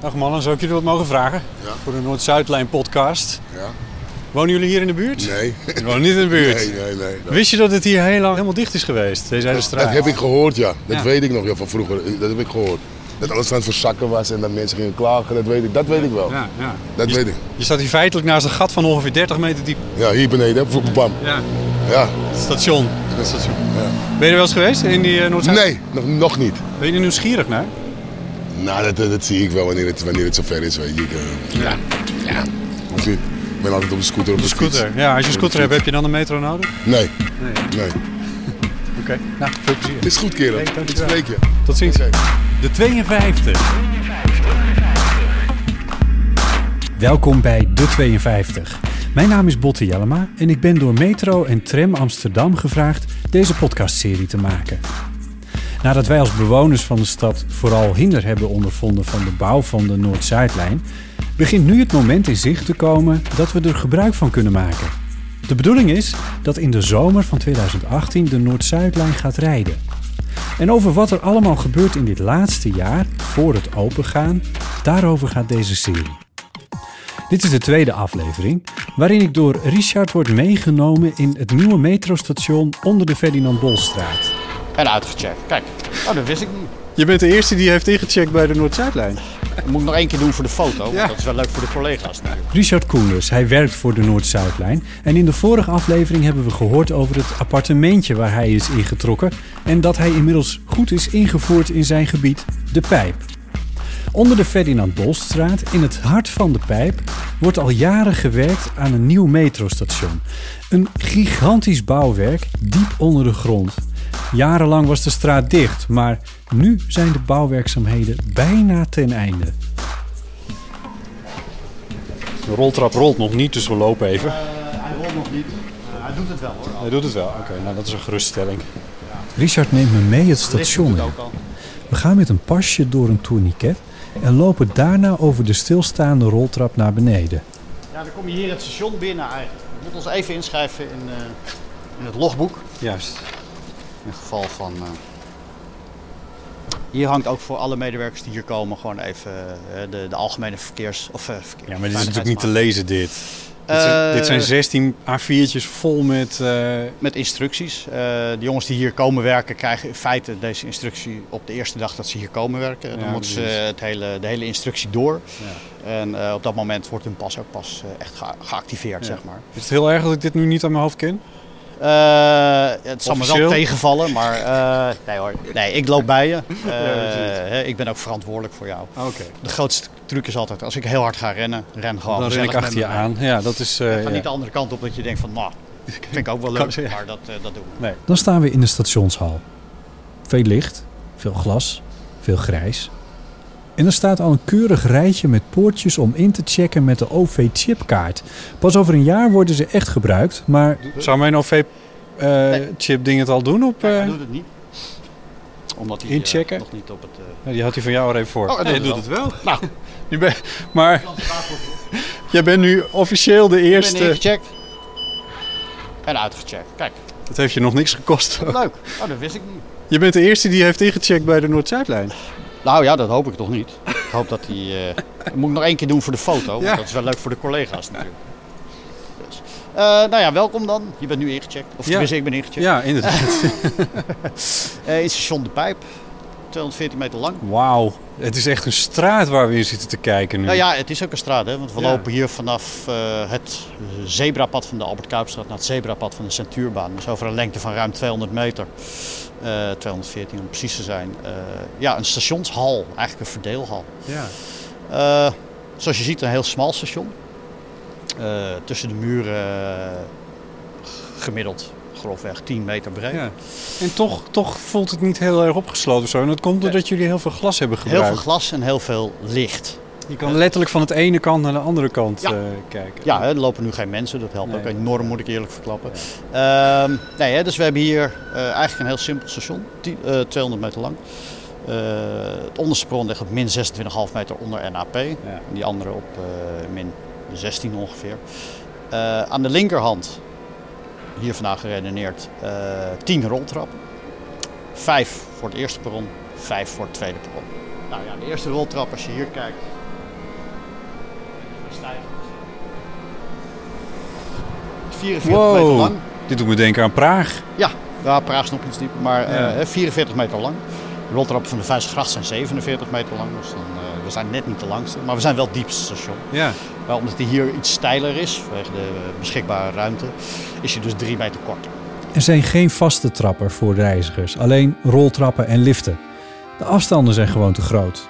Dag mannen, zou ik jullie wat mogen vragen? Ja. Voor de Noord-Zuidlijn podcast. Ja? Wonen jullie hier in de buurt? Nee. Jullie wonen niet in de buurt. Nee, nee, nee. Wist je dat het hier heel lang helemaal dicht is geweest, deze hele straat? Dat heb ik gehoord, ja. Dat Ja. weet ik nog ja, van vroeger. Dat heb ik gehoord. Dat alles aan het verzakken was en dat mensen gingen klagen, dat weet ik, dat weet ik wel. Ja, ja. Dat je, weet ik. Je staat hier feitelijk naast een gat van ongeveer 30 meter diep. Ja, hier beneden, hè, voor bam. Ja. Ja. Het station. Het station. Ja. Ben je er wel eens geweest in die noord zuid Nee, nog, nog niet. Ben je er nieuwsgierig naar? Nou, dat, dat zie ik wel wanneer het, wanneer het zover is, weet je. Ik, eh, Ja. ja, hoeft niet. Ik ben altijd op de scooter op de, Scooter. fiets. Ja, als je een scooter hebt, heb je dan een metro nodig? Nee, Nee. nee. Oké. Nou, veel plezier. Is goed, kerel. Nee, Ik dankjewel. spreek je. Tot ziens. Oké. De 52. Welkom bij De 52. Mijn naam is Botte Jellema en ik ben door Metro en Tram Amsterdam gevraagd deze podcastserie te maken. Nadat wij als bewoners van de stad vooral hinder hebben ondervonden van de bouw van de Noord-Zuidlijn, begint nu het moment in zicht te komen dat we er gebruik van kunnen maken. De bedoeling is dat in de zomer van 2018 de Noord-Zuidlijn gaat rijden. En over wat er allemaal gebeurt in dit laatste jaar voor het opengaan, daarover gaat deze serie. Dit is de tweede aflevering, waarin ik door Richard word meegenomen in het nieuwe metrostation onder de Ferdinand Bolstraat. En uitgecheckt. Kijk. Oh, dat wist ik niet. Je bent de eerste die heeft ingecheckt bij de Noord-Zuidlijn. Dat moet ik nog één keer doen voor de foto. want Ja. Dat is wel leuk voor de collega's natuurlijk. Richard Koenders, hij werkt voor de Noord-Zuidlijn en in de vorige aflevering hebben we gehoord over het appartementje waar hij is ingetrokken en dat hij inmiddels goed is ingevoerd in zijn gebied, de Pijp. Onder de Ferdinand Bolstraat, in het hart van de Pijp, wordt al jaren gewerkt aan een nieuw metrostation. Een gigantisch bouwwerk diep onder de grond. Jarenlang was de straat dicht, maar nu zijn de bouwwerkzaamheden bijna ten einde. De roltrap rolt nog niet, dus we lopen even. hij rolt nog niet. hij doet het wel hoor. Eh, Hij doet het wel. Oké, nou dat is een geruststelling. Richard neemt me mee het station in. ook al. We gaan met een pasje door een tourniquet en lopen daarna over de stilstaande roltrap naar beneden. Ja, dan kom je hier het station binnen eigenlijk. Je moet ons even inschrijven in, eh, in het logboek. Juist. In geval van... eh, hier hangt ook voor alle medewerkers die hier komen gewoon even eh, de, de algemene verkeers... Of, eh, verkeer- Ja, maar dit is natuurlijk niet te lezen dit. Dit zijn- Eh, dit zijn 16 A4'tjes vol met... eh, Met instructies. Eh, de jongens die hier komen werken krijgen in feite deze instructie op de eerste dag dat ze hier komen werken. Dan Ja, moeten ze precies. het hele, de hele instructie door. En eh, op dat moment wordt hun pas ook pas eh, echt gea- geactiveerd, Ja. zeg maar. is het heel erg dat ik dit nu niet aan mijn hoofd ken? Eh, het zal me wel Officieel? tegenvallen, maar eh, nee hoor. Nee, ik loop bij je. Eh, precies. hè, ik ben ook verantwoordelijk voor jou. Ah, Oké. De grootste truc is altijd, als ik heel hard ga rennen, ren gewoon Dan ren ik gezellig achter je met me mee. aan. Ja, dat is... eh, Ga ja. niet de andere kant op dat je denkt van, nou, dat vind ik ook wel Kan- leuk, maar dat, eh, dat doen we. Dan staan we in de stationshal. Veel licht, veel glas, veel grijs. En er staat al een keurig rijtje met poortjes om in te checken met de OV-chipkaart. Pas over een jaar worden ze echt gebruikt, maar Zou mijn OV-chip ding het al doen? Op, eh, Hij doet het niet. Omdat hij eh, Inchecken? nog niet op het... eh, nou, die had hij van jou er even voor. Oh, hij Nee, doet het wel. Nou, nu ben, maar jij bent nu officieel de Ik ben eerste. ingecheckt. En uitgecheckt. Kijk, Dat heeft je nog niks gekost. leuk. Oh, dat wist ik niet. Je bent de eerste die heeft ingecheckt bij de Noord-Zuidlijn. Nou ja, dat hoop ik toch niet. Ik hoop dat hij... eh, dat moet ik nog één keer doen voor de foto. Want Ja. dat is wel leuk voor de collega's natuurlijk. Dus. Eh, nou ja, welkom dan. Je bent nu ingecheckt. Of Ja. tenminste, ik ben ingecheckt. Ja, inderdaad. Eh, in station De Pijp. 214 meter lang. Wauw. Het is echt een straat waar we in zitten te kijken nu. Nou ja, het is ook een straat, hè? want we Ja. lopen hier vanaf eh, het zebrapad van de Albert Kuipstraat naar het zebrapad van de Centuurbaan. Dus over een lengte van ruim 200 meter, Eh, 214 om precies te zijn. Eh, ja, een stationshal, eigenlijk een verdeelhal. Ja. Eh, zoals je ziet, een heel smal station. Eh, tussen de muren eh, gemiddeld grofweg 10 meter breed. Ja. En toch, toch voelt het niet heel erg opgesloten of zo. En dat komt doordat jullie heel veel glas hebben Heel gebruikt. veel glas en heel veel licht. Je kan letterlijk van het ene kant naar de andere kant Ja. eh, kijken. Ja, hè, er lopen nu geen mensen, dat helpt Nee. ook enorm, moet ik eerlijk verklappen. Ehm, nee, hè, dus we hebben hier eh, eigenlijk een heel simpel station, 10 eh, 200 meter lang. Eh, het onderste perron ligt op min 26,5 meter onder NAP. En Die andere op eh, min 16 ongeveer. Eh, aan de linkerhand, hier vandaan geredeneerd, eh 10 roltrappen. Vijf voor het eerste perron, vijf voor het tweede perron. Nou ja, de eerste roltrap, als je hier kijkt, 44 meter Wow. lang. Dit doet me denken aan Praag. Ja, ja Praag is nog iets dieper, maar eh, Ja. hè, 44 meter lang. Rotterdam van de Vijfsgracht zijn 47 meter lang, dus dan, eh, we zijn net niet de langste. Maar we zijn wel het diepste station. Ja. Maar omdat die hier iets steiler is, vanwege de beschikbare ruimte, is hij dus 3 meter korter. Er zijn geen vaste trappen voor reizigers, alleen roltrappen en liften. De afstanden zijn gewoon te groot.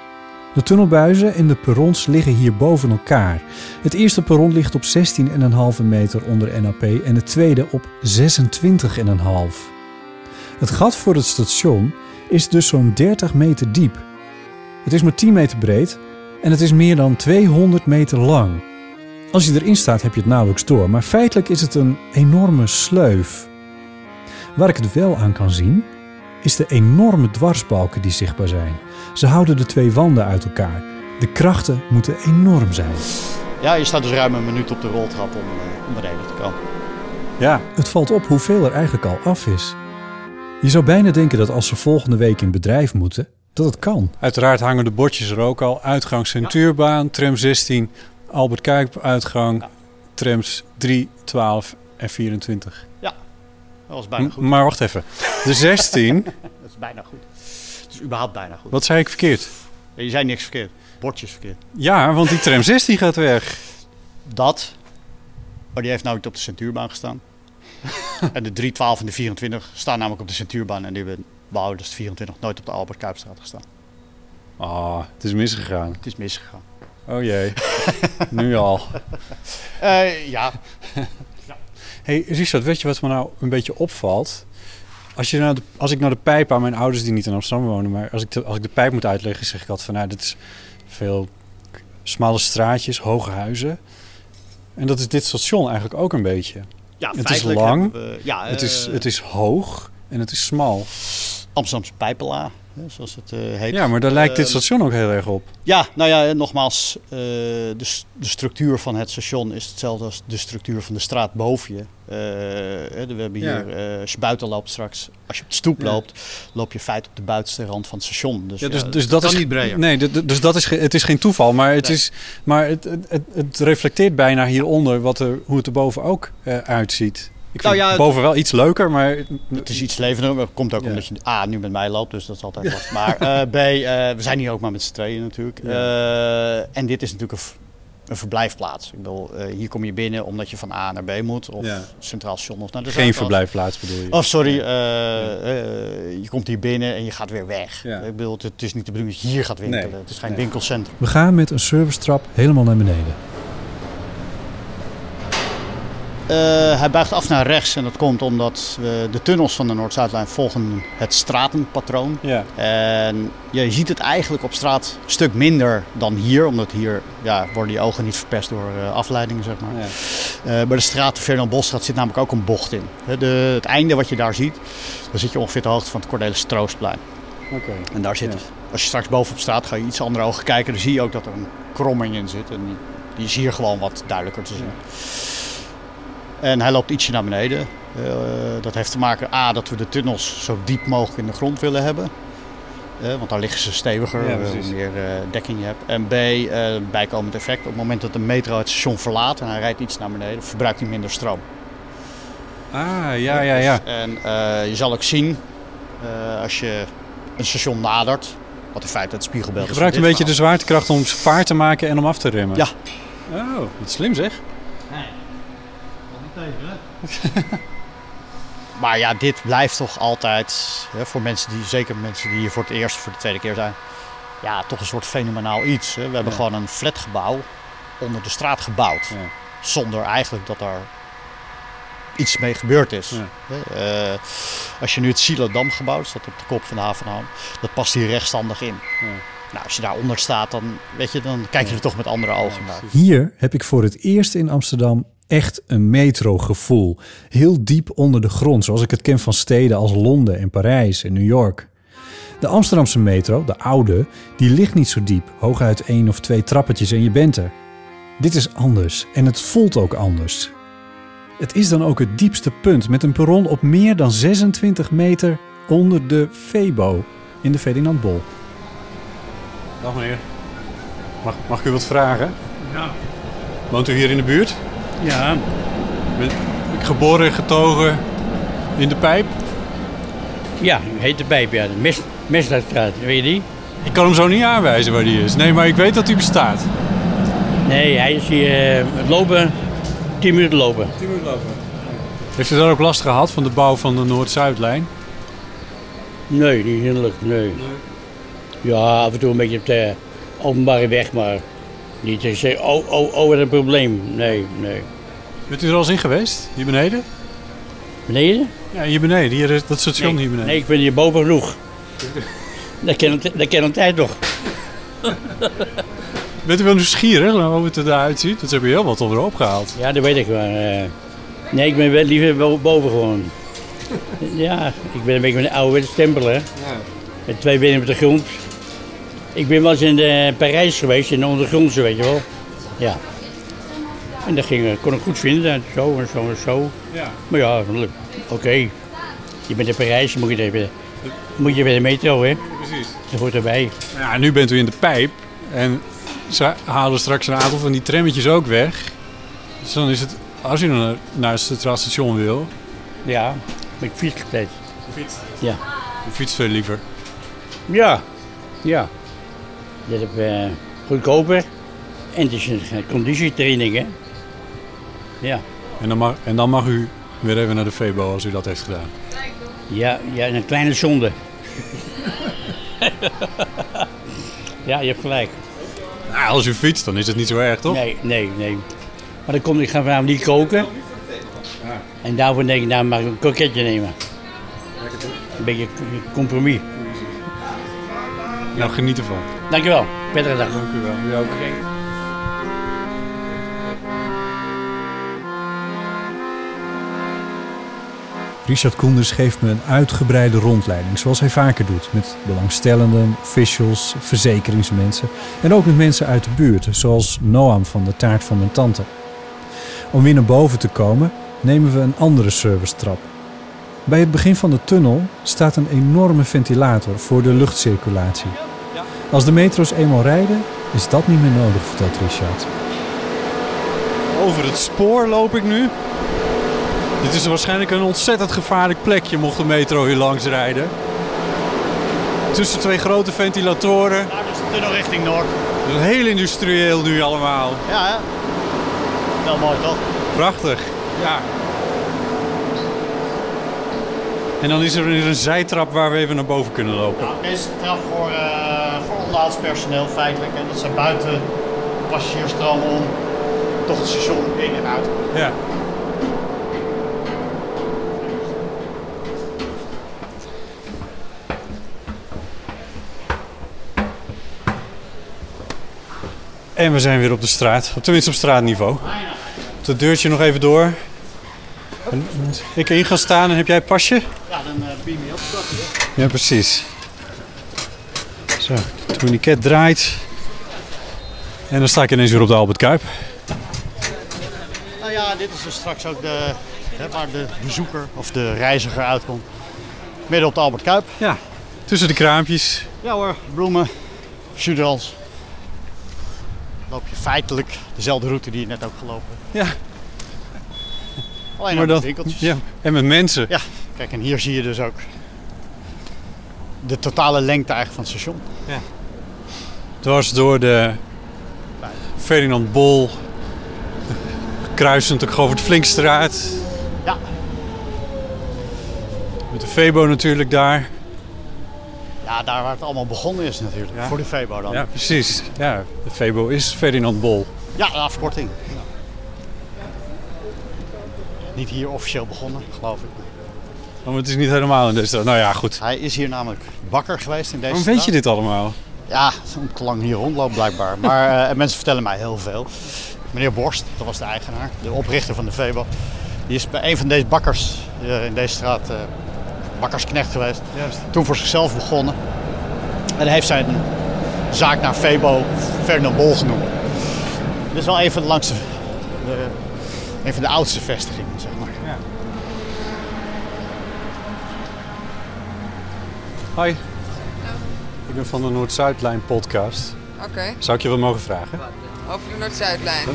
De tunnelbuizen en de perrons liggen hier boven elkaar. Het eerste perron ligt op 16,5 meter onder NAP en het tweede op 26,5. Het gat voor het station is dus zo'n 30 meter diep. Het is maar 10 meter breed en het is meer dan 200 meter lang. Als je erin staat heb je het nauwelijks door, maar feitelijk is het een enorme sleuf. Waar ik het wel aan kan zien, is de enorme dwarsbalken die zichtbaar zijn. Ze houden de twee wanden uit elkaar. De krachten moeten enorm zijn. Ja, je staat dus ruim een minuut op de roltrap om, eh, om beneden te komen. Ja. Het valt op hoeveel er eigenlijk al af is. Je zou bijna denken dat als ze volgende week in bedrijf moeten, dat het kan. Uiteraard hangen de bordjes er ook al. Uitgang Centuurbaan, tram 16, Albert Kuip uitgang, trams 3, 12 en 24. Dat was bijna M- Ah, goed. Maar wacht even. De 16, Dat is bijna goed. Het is überhaupt bijna goed. wat zei ik verkeerd? Je zei niks verkeerd. Bordjes verkeerd. Ja, want die tram 16 gaat weg. Dat. Maar die heeft nou niet op de centuurbaan gestaan. en de 3, 12 en de 24 staan namelijk op de centuurbaan. En die hebben behouden dus de 24 nooit op de Albert Kuipstraat gestaan. Ah, het is misgegaan. Het is misgegaan. Oh jee, nu al. Eh, ja, hey, Richard, weet je wat me nou een beetje opvalt? Als, je nou de- als ik nou de pijp aan mijn ouders die niet in Amsterdam wonen, maar als ik de, als ik de pijp moet uitleggen, zeg ik altijd van nou, dit is veel smalle straatjes, hoge huizen. En dat is dit station eigenlijk ook een beetje. ja Het is feitelijk lang. hebben we- ja, het, is, eh, het is hoog en het is smal. Amsterdamse pijpelaar, hè, zoals het eh, heet. Ja, maar daar lijkt dit eh, station ook heel erg op. Ja, nou ja, en nogmaals, eh, de, s- de structuur van het station is hetzelfde als de structuur van de straat boven je. Eh, hè, we hebben Ja. hier, eh, als je buiten loopt straks, als je op de stoep Ja. loopt, loop je feitelijk op de buitenste rand van het station. Dus, Ja, dus, ja, dus dat kan is niet breder. Nee, d- d- dus dat is ge- het is geen toeval, maar het Nee. is, maar het, het, het, het reflecteert bijna hieronder wat er, hoe het er boven ook eh, uitziet. Ik Nou vind ja, het- boven wel iets leuker, maar Het is iets levender, maar dat komt ook Ja. omdat je A, nu met mij loopt, dus dat is altijd lastig. Maar eh, B, eh, we zijn hier ook maar met z'n tweeën natuurlijk. Eh, en dit is natuurlijk een, v- een verblijfplaats. Ik bedoel, eh, hier kom je binnen omdat je van A naar B moet, of Ja. centraal station of naar de geen Zuidas. verblijfplaats bedoel je. Oh, sorry. eh, eh, je komt hier binnen en je gaat weer weg. Ja. Ik bedoel, het, het is niet de bedoeling dat je hier gaat winkelen. Nee. Het is geen Nee. winkelcentrum. We gaan met een servicetrap helemaal naar beneden. Eh, hij buigt af naar rechts en dat komt omdat eh, de tunnels van de Noord-Zuidlijn volgen het stratenpatroon. Ja, En ja, je ziet het eigenlijk op straat een stuk minder dan hier. Omdat hier ja, worden die ogen niet verpest door eh, afleidingen, zeg maar. ja. Eh, bij de straat de Ferdinand Bosstraat zit namelijk ook een bocht in. Hè, de, het einde wat je daar ziet, daar zit je ongeveer de hoogte van het Cornelis Troostplein. oké. En daar zit Ja. Als je straks boven op straat ga je iets andere ogen kijken, dan zie je ook dat er een kromming in zit. En die, die is hier gewoon wat duidelijker te zien. En hij loopt ietsje naar beneden. Eh, dat heeft te maken A, dat we de tunnels zo diep mogelijk in de grond willen hebben. Eh, want daar liggen ze steviger, Ja, eh, precies. hoe meer eh, dekking je hebt. En B, eh, bijkomend effect, op het moment dat de metro het station verlaat en hij rijdt iets naar beneden, verbruikt hij minder stroom. Ah, ja, ja, ja. En eh, je zal ook zien, eh, als je een station nadert, wat in feite het spiegelbeeld Je is. gebruikt een van dit beetje de verhaal. zwaartekracht om vaart te maken en om af te remmen. Ja. Oh, wat slim zeg. Maar ja, dit blijft toch altijd, hè, voor mensen die, zeker mensen die hier voor het eerst of voor de tweede keer zijn, ja, toch een soort fenomenaal iets. Hè. We hebben Ja. gewoon een flatgebouw onder de straat gebouwd. Ja. Zonder eigenlijk dat daar iets mee gebeurd is. Ja. Hè, eh, als je nu het Silodamgebouw, dat staat op de kop van de haven, van Ham, dat past hier rechtstandig in. Ja. Nou, als je daaronder staat, dan, weet je, dan kijk je er toch met andere ogen naar. Hier heb ik voor het eerst in Amsterdam echt een metrogevoel. Heel diep onder de grond, zoals ik het ken van steden als Londen en Parijs en New York. De Amsterdamse metro, de oude, die ligt niet zo diep, hooguit één of twee trappetjes en je bent er. Dit is anders en het voelt ook anders. Het is dan ook het diepste punt met een perron op meer dan 26 meter onder de Febo in de Ferdinand Bol. Dag meneer. Mag, mag ik u wat vragen? Ja, Woont u hier in de buurt? Ja, Bent geboren en getogen in de pijp? ja, heet de pijp, ja. De mis, misdaadstraat, weet je die? Ik kan hem zo niet aanwijzen waar die is. Nee, maar ik weet dat hij bestaat. Nee, hij is hier eh, het lopen, 10 minuten lopen. Heeft u daar ook last gehad van de bouw van de Noord-Zuidlijn? Nee, niet hinderlijk, nee. Ja, af en toe een beetje op de openbare weg, maar niet te zeggen, oh, oh, oh, wat een probleem. Nee, nee. Bent u er al eens in geweest? Hier beneden? Beneden? Ja, hier beneden. Hier, is- dat station hier beneden. Nee, ik ben hier boven genoeg. dat ken dat ken een tijd nog. Bent u wel nieuwsgierig naar hoe het eruit ziet? Dat heb je heel wat over opgehaald. Ja, dat weet ik wel. eh. nee, ik ben wel liever bo- boven gewoon. ja, ik ben een beetje een oude stempel, hè. Met twee benen op de grond. Ik ben wel eens in eh, Parijs geweest, in de ondergrondse, weet je wel. Ja. En dat ging, eh, kon ik goed vinden, zo en zo en zo. Ja. Maar ja, le- oké. Je bent in Parijs, dan moet je even, moet je bij de metro, hè. Precies. Dat hoort erbij. Ja, nu bent u in de pijp. En ze halen straks een aantal van die trammetjes ook weg. Dus dan is het, als u naar, naar het centraal station wil, Ja, met fietstijd. u fietst veel liever. Ja, ja. Je hebt eh, goedkoper en het is een eh, conditietraining, hè? Ja. En dan, mag, en dan mag u weer even naar de Febo als u dat heeft gedaan. Ja, ja, een kleine zonde. ja, je hebt gelijk. Nou, als u fietst, dan is het niet zo erg, toch? Nee, nee, nee. Maar dan komt ik ga vanavond niet koken. En daarvoor denk ik, nou mag ik een kroketje nemen. Een beetje een compromis. Nou, geniet ervan. Dankjewel. Prettige dag. Dank u wel. Richard Koenders geeft me een uitgebreide rondleiding, zoals hij vaker doet. Met belangstellenden, officials, verzekeringsmensen. En ook met mensen uit de buurt, zoals Noam van de taart van mijn tante. Om weer naar boven te komen, nemen we een andere service trap. Bij het begin van de tunnel staat een enorme ventilator voor de luchtcirculatie. Als de metro's eenmaal rijden, is dat niet meer nodig, vertelt Richard. Over het spoor loop ik nu. Dit is waarschijnlijk een ontzettend gevaarlijk plekje, mocht de metro hier langs rijden. Tussen twee grote ventilatoren. Daar is de tunnel richting Noord. Dus heel industrieel nu allemaal. Ja, hè? Wel mooi toch? Prachtig. Ja. En dan is er weer een zijtrap waar we even naar boven kunnen lopen. Nou, deze trap voor, eh voor onderhoudspersoneel feitelijk. En dat zijn buiten passagiersstromen om toch het station in en uit. Ja. En we zijn weer op de straat. Tenminste op straatniveau. Op dat deurtje nog even door. En als ik in ga staan en heb jij het pasje? Ja, dan eh beam je op. Ja, precies. Zo, de tourniquet draait. En dan sta ik ineens weer op de Albert Kuip. Nou ja, dit is dus straks ook de, hè, waar de bezoeker of de reiziger uitkomt. Midden op de Albert Kuip. Ja. Tussen de kraampjes. Ja hoor, bloemen, sudrals. Loop je feitelijk dezelfde route die je net ook gelopen hebt. Ja. Alleen Maar maar dat, winkeltjes. ja. En met mensen. Ja, kijk, en hier zie je dus ook de totale lengte eigenlijk van het station. dwars door de Ferdinand Bol, kruisend ook over de Flinkstraat. Ja. Met de Febo natuurlijk daar. Ja, daar waar het allemaal begonnen is natuurlijk. Ja. Voor de Febo dan. Ja, precies. Ja, de Febo is Ferdinand Bol. Ja, de afkorting. Niet hier officieel begonnen, geloof ik. Oh, Maar het is niet helemaal in deze straat. Nou ja, goed. Hij is hier namelijk bakker geweest in deze Waarom Oh, weet straat. je dit allemaal? Ja, omdat ik te lang hier rondloop blijkbaar. Maar eh, en mensen vertellen mij heel veel. Meneer Borst, dat was de eigenaar, de oprichter van de Febo. Die is bij een van deze bakkers eh, in deze straat eh, bakkersknecht geweest. Juist. Toen voor zichzelf begonnen. En hij heeft zijn zaak naar Febo Ferdinand Bol genoemd. Dit is wel een van de langste, de, een van de oudste vestigingen, zeg maar. Hoi. Ik ben van de Noord-Zuidlijn podcast. Oké, Zou ik je wat mogen vragen? oké. Over de Noord-Zuidlijn.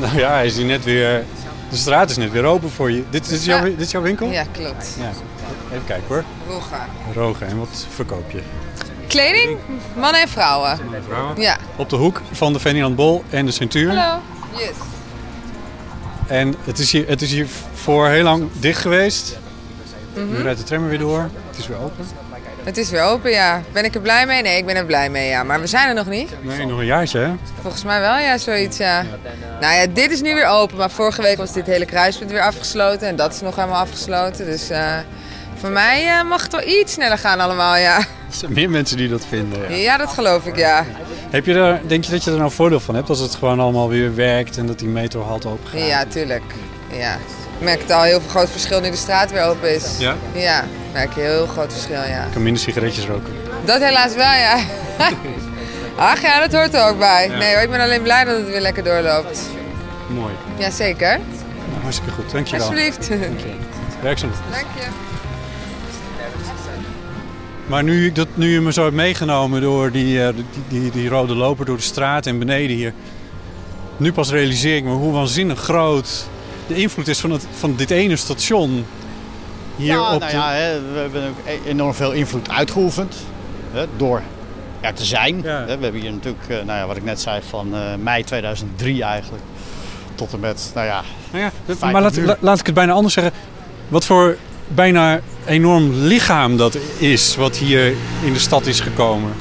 Nou ja, hij is hier net weer... De straat is net weer open voor je. Dit, dit is, jouw, Ja. dit is jouw winkel? Ja, klopt. Ja. Even kijken hoor. Roga. Rogen, en wat verkoop je? Kleding, mannen en vrouwen. Ja. Op de hoek van de Ferdinand Bol en de Centuur. Hallo. Yes. En het is, hier, het is hier voor heel lang dicht geweest. Mhm. Nu rijdt de tram er weer door. Het is weer open. Het is weer open, ja. Ben ik er blij mee? Nee, ik ben er blij mee, ja. Maar we zijn er nog niet. Nee, nog een jaartje hè? Volgens mij wel, ja, zoiets, ja. Nou ja, dit is nu weer open, maar vorige week was dit hele kruispunt weer afgesloten. En dat is nog helemaal afgesloten. Dus eh, voor mij eh, mag het wel iets sneller gaan allemaal, ja. Er zijn meer mensen die dat vinden. ja. Ja, dat geloof ik, ja. Heb je daar, denk je dat je er nou voordeel van hebt als het gewoon allemaal weer werkt en dat die metro halt open gaat? Ja, tuurlijk. Ja. Ik merk het al heel veel groot verschil nu de straat weer open is. Ja? Ja, merk je heel groot verschil, ja. Ik kan minder sigaretjes roken. Dat helaas wel, ja. Ach ja, dat hoort er ook bij. Nee hoor, ik ben alleen blij dat het weer lekker doorloopt. Mooi. Jazeker. Nou, hartstikke goed, dankjewel. Alsjeblieft. Werkzaam. Dank je. Maar nu, ik dat, nu je me zo hebt meegenomen door die, eh, die, die, die rode loper door de straat en beneden hier. Nu pas realiseer ik me hoe waanzinnig groot de invloed is van, het, van dit ene station. Hier ja, op nou de- ja, hè, we hebben ook e- enorm veel invloed uitgeoefend hè, door er te zijn. Ja. Hè, We hebben hier natuurlijk, eh, nou ja, wat ik net zei, van eh, mei 2003 eigenlijk tot en met, nou ja, Nou ja, dat- Fijn maar laat, nu. la- laat ik het bijna anders zeggen. Wat voor bijna enorm lichaam dat is wat hier in de stad is gekomen.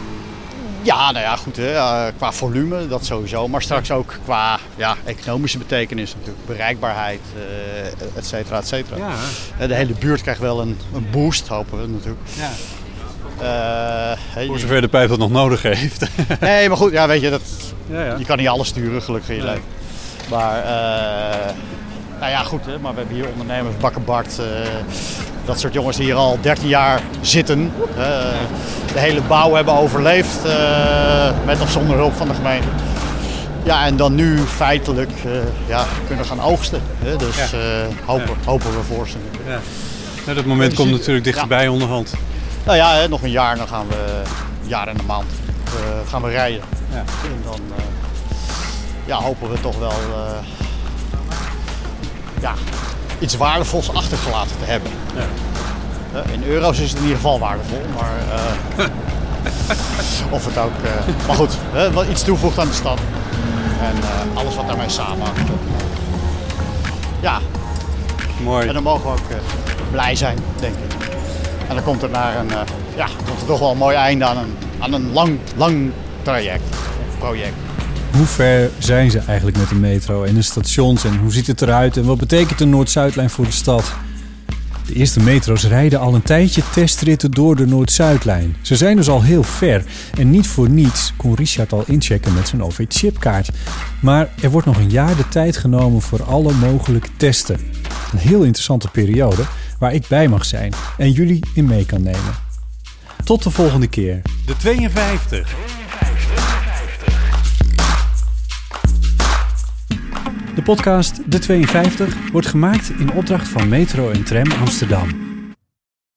Ja, nou ja, goed. Hè, eh, qua volume, dat sowieso. Maar straks ook qua ja, economische betekenis natuurlijk. Bereikbaarheid, eh et cetera, et cetera. Ja. Eh, De hele buurt krijgt wel een, een boost, hopen we natuurlijk. Ja. Eh, hè, je- Voor zover de pijp dat nog nodig heeft. nee, maar goed, ja, weet je, dat, ja, ja. je kan niet alles sturen, gelukkig in je Nee. leven. Maar, eh, nou ja, goed, hè, maar we hebben hier ondernemers, Bakker Bart, eh, dat soort jongens die hier al 13 jaar zitten. eh, de hele bouw hebben overleefd, eh, met of zonder hulp van de gemeente. Ja, en dan nu feitelijk eh, ja, kunnen gaan oogsten. Hè? Dus Ja. eh, hopen, hopen we voor ze. Nou, dat moment komt natuurlijk dichterbij onderhand. Nou ja, hè, nog een jaar, dan gaan we een jaar en een maand eh, gaan we rijden. Ja. En dan eh, ja, hopen we toch wel eh, ja, iets waardevols achtergelaten te hebben. Eh, In euro's is het in ieder geval waardevol, maar eh, of het ook. eh, maar goed, hè, wel iets toevoegt aan de stad en eh, alles wat daarmee samenhangt. Ja, Mooi. en dan mogen we ook eh, blij zijn, denk ik. En dan komt er naar een, eh, ja, komt er toch wel een mooi einde aan een, aan een lang, lang traject, project. Hoe ver zijn ze eigenlijk met de metro en de stations en hoe ziet het eruit en wat betekent de Noord-Zuidlijn voor de stad? De eerste metro's rijden al een tijdje testritten door de Noord-Zuidlijn. Ze zijn dus al heel ver en niet voor niets kon Richard al inchecken met zijn OV-chipkaart. Maar er wordt nog een jaar de tijd genomen voor alle mogelijke testen. Een heel interessante periode waar ik bij mag zijn en jullie in mee kan nemen. Tot de volgende keer. De 52. De podcast De 52 wordt gemaakt in opdracht van Metro en Tram Amsterdam.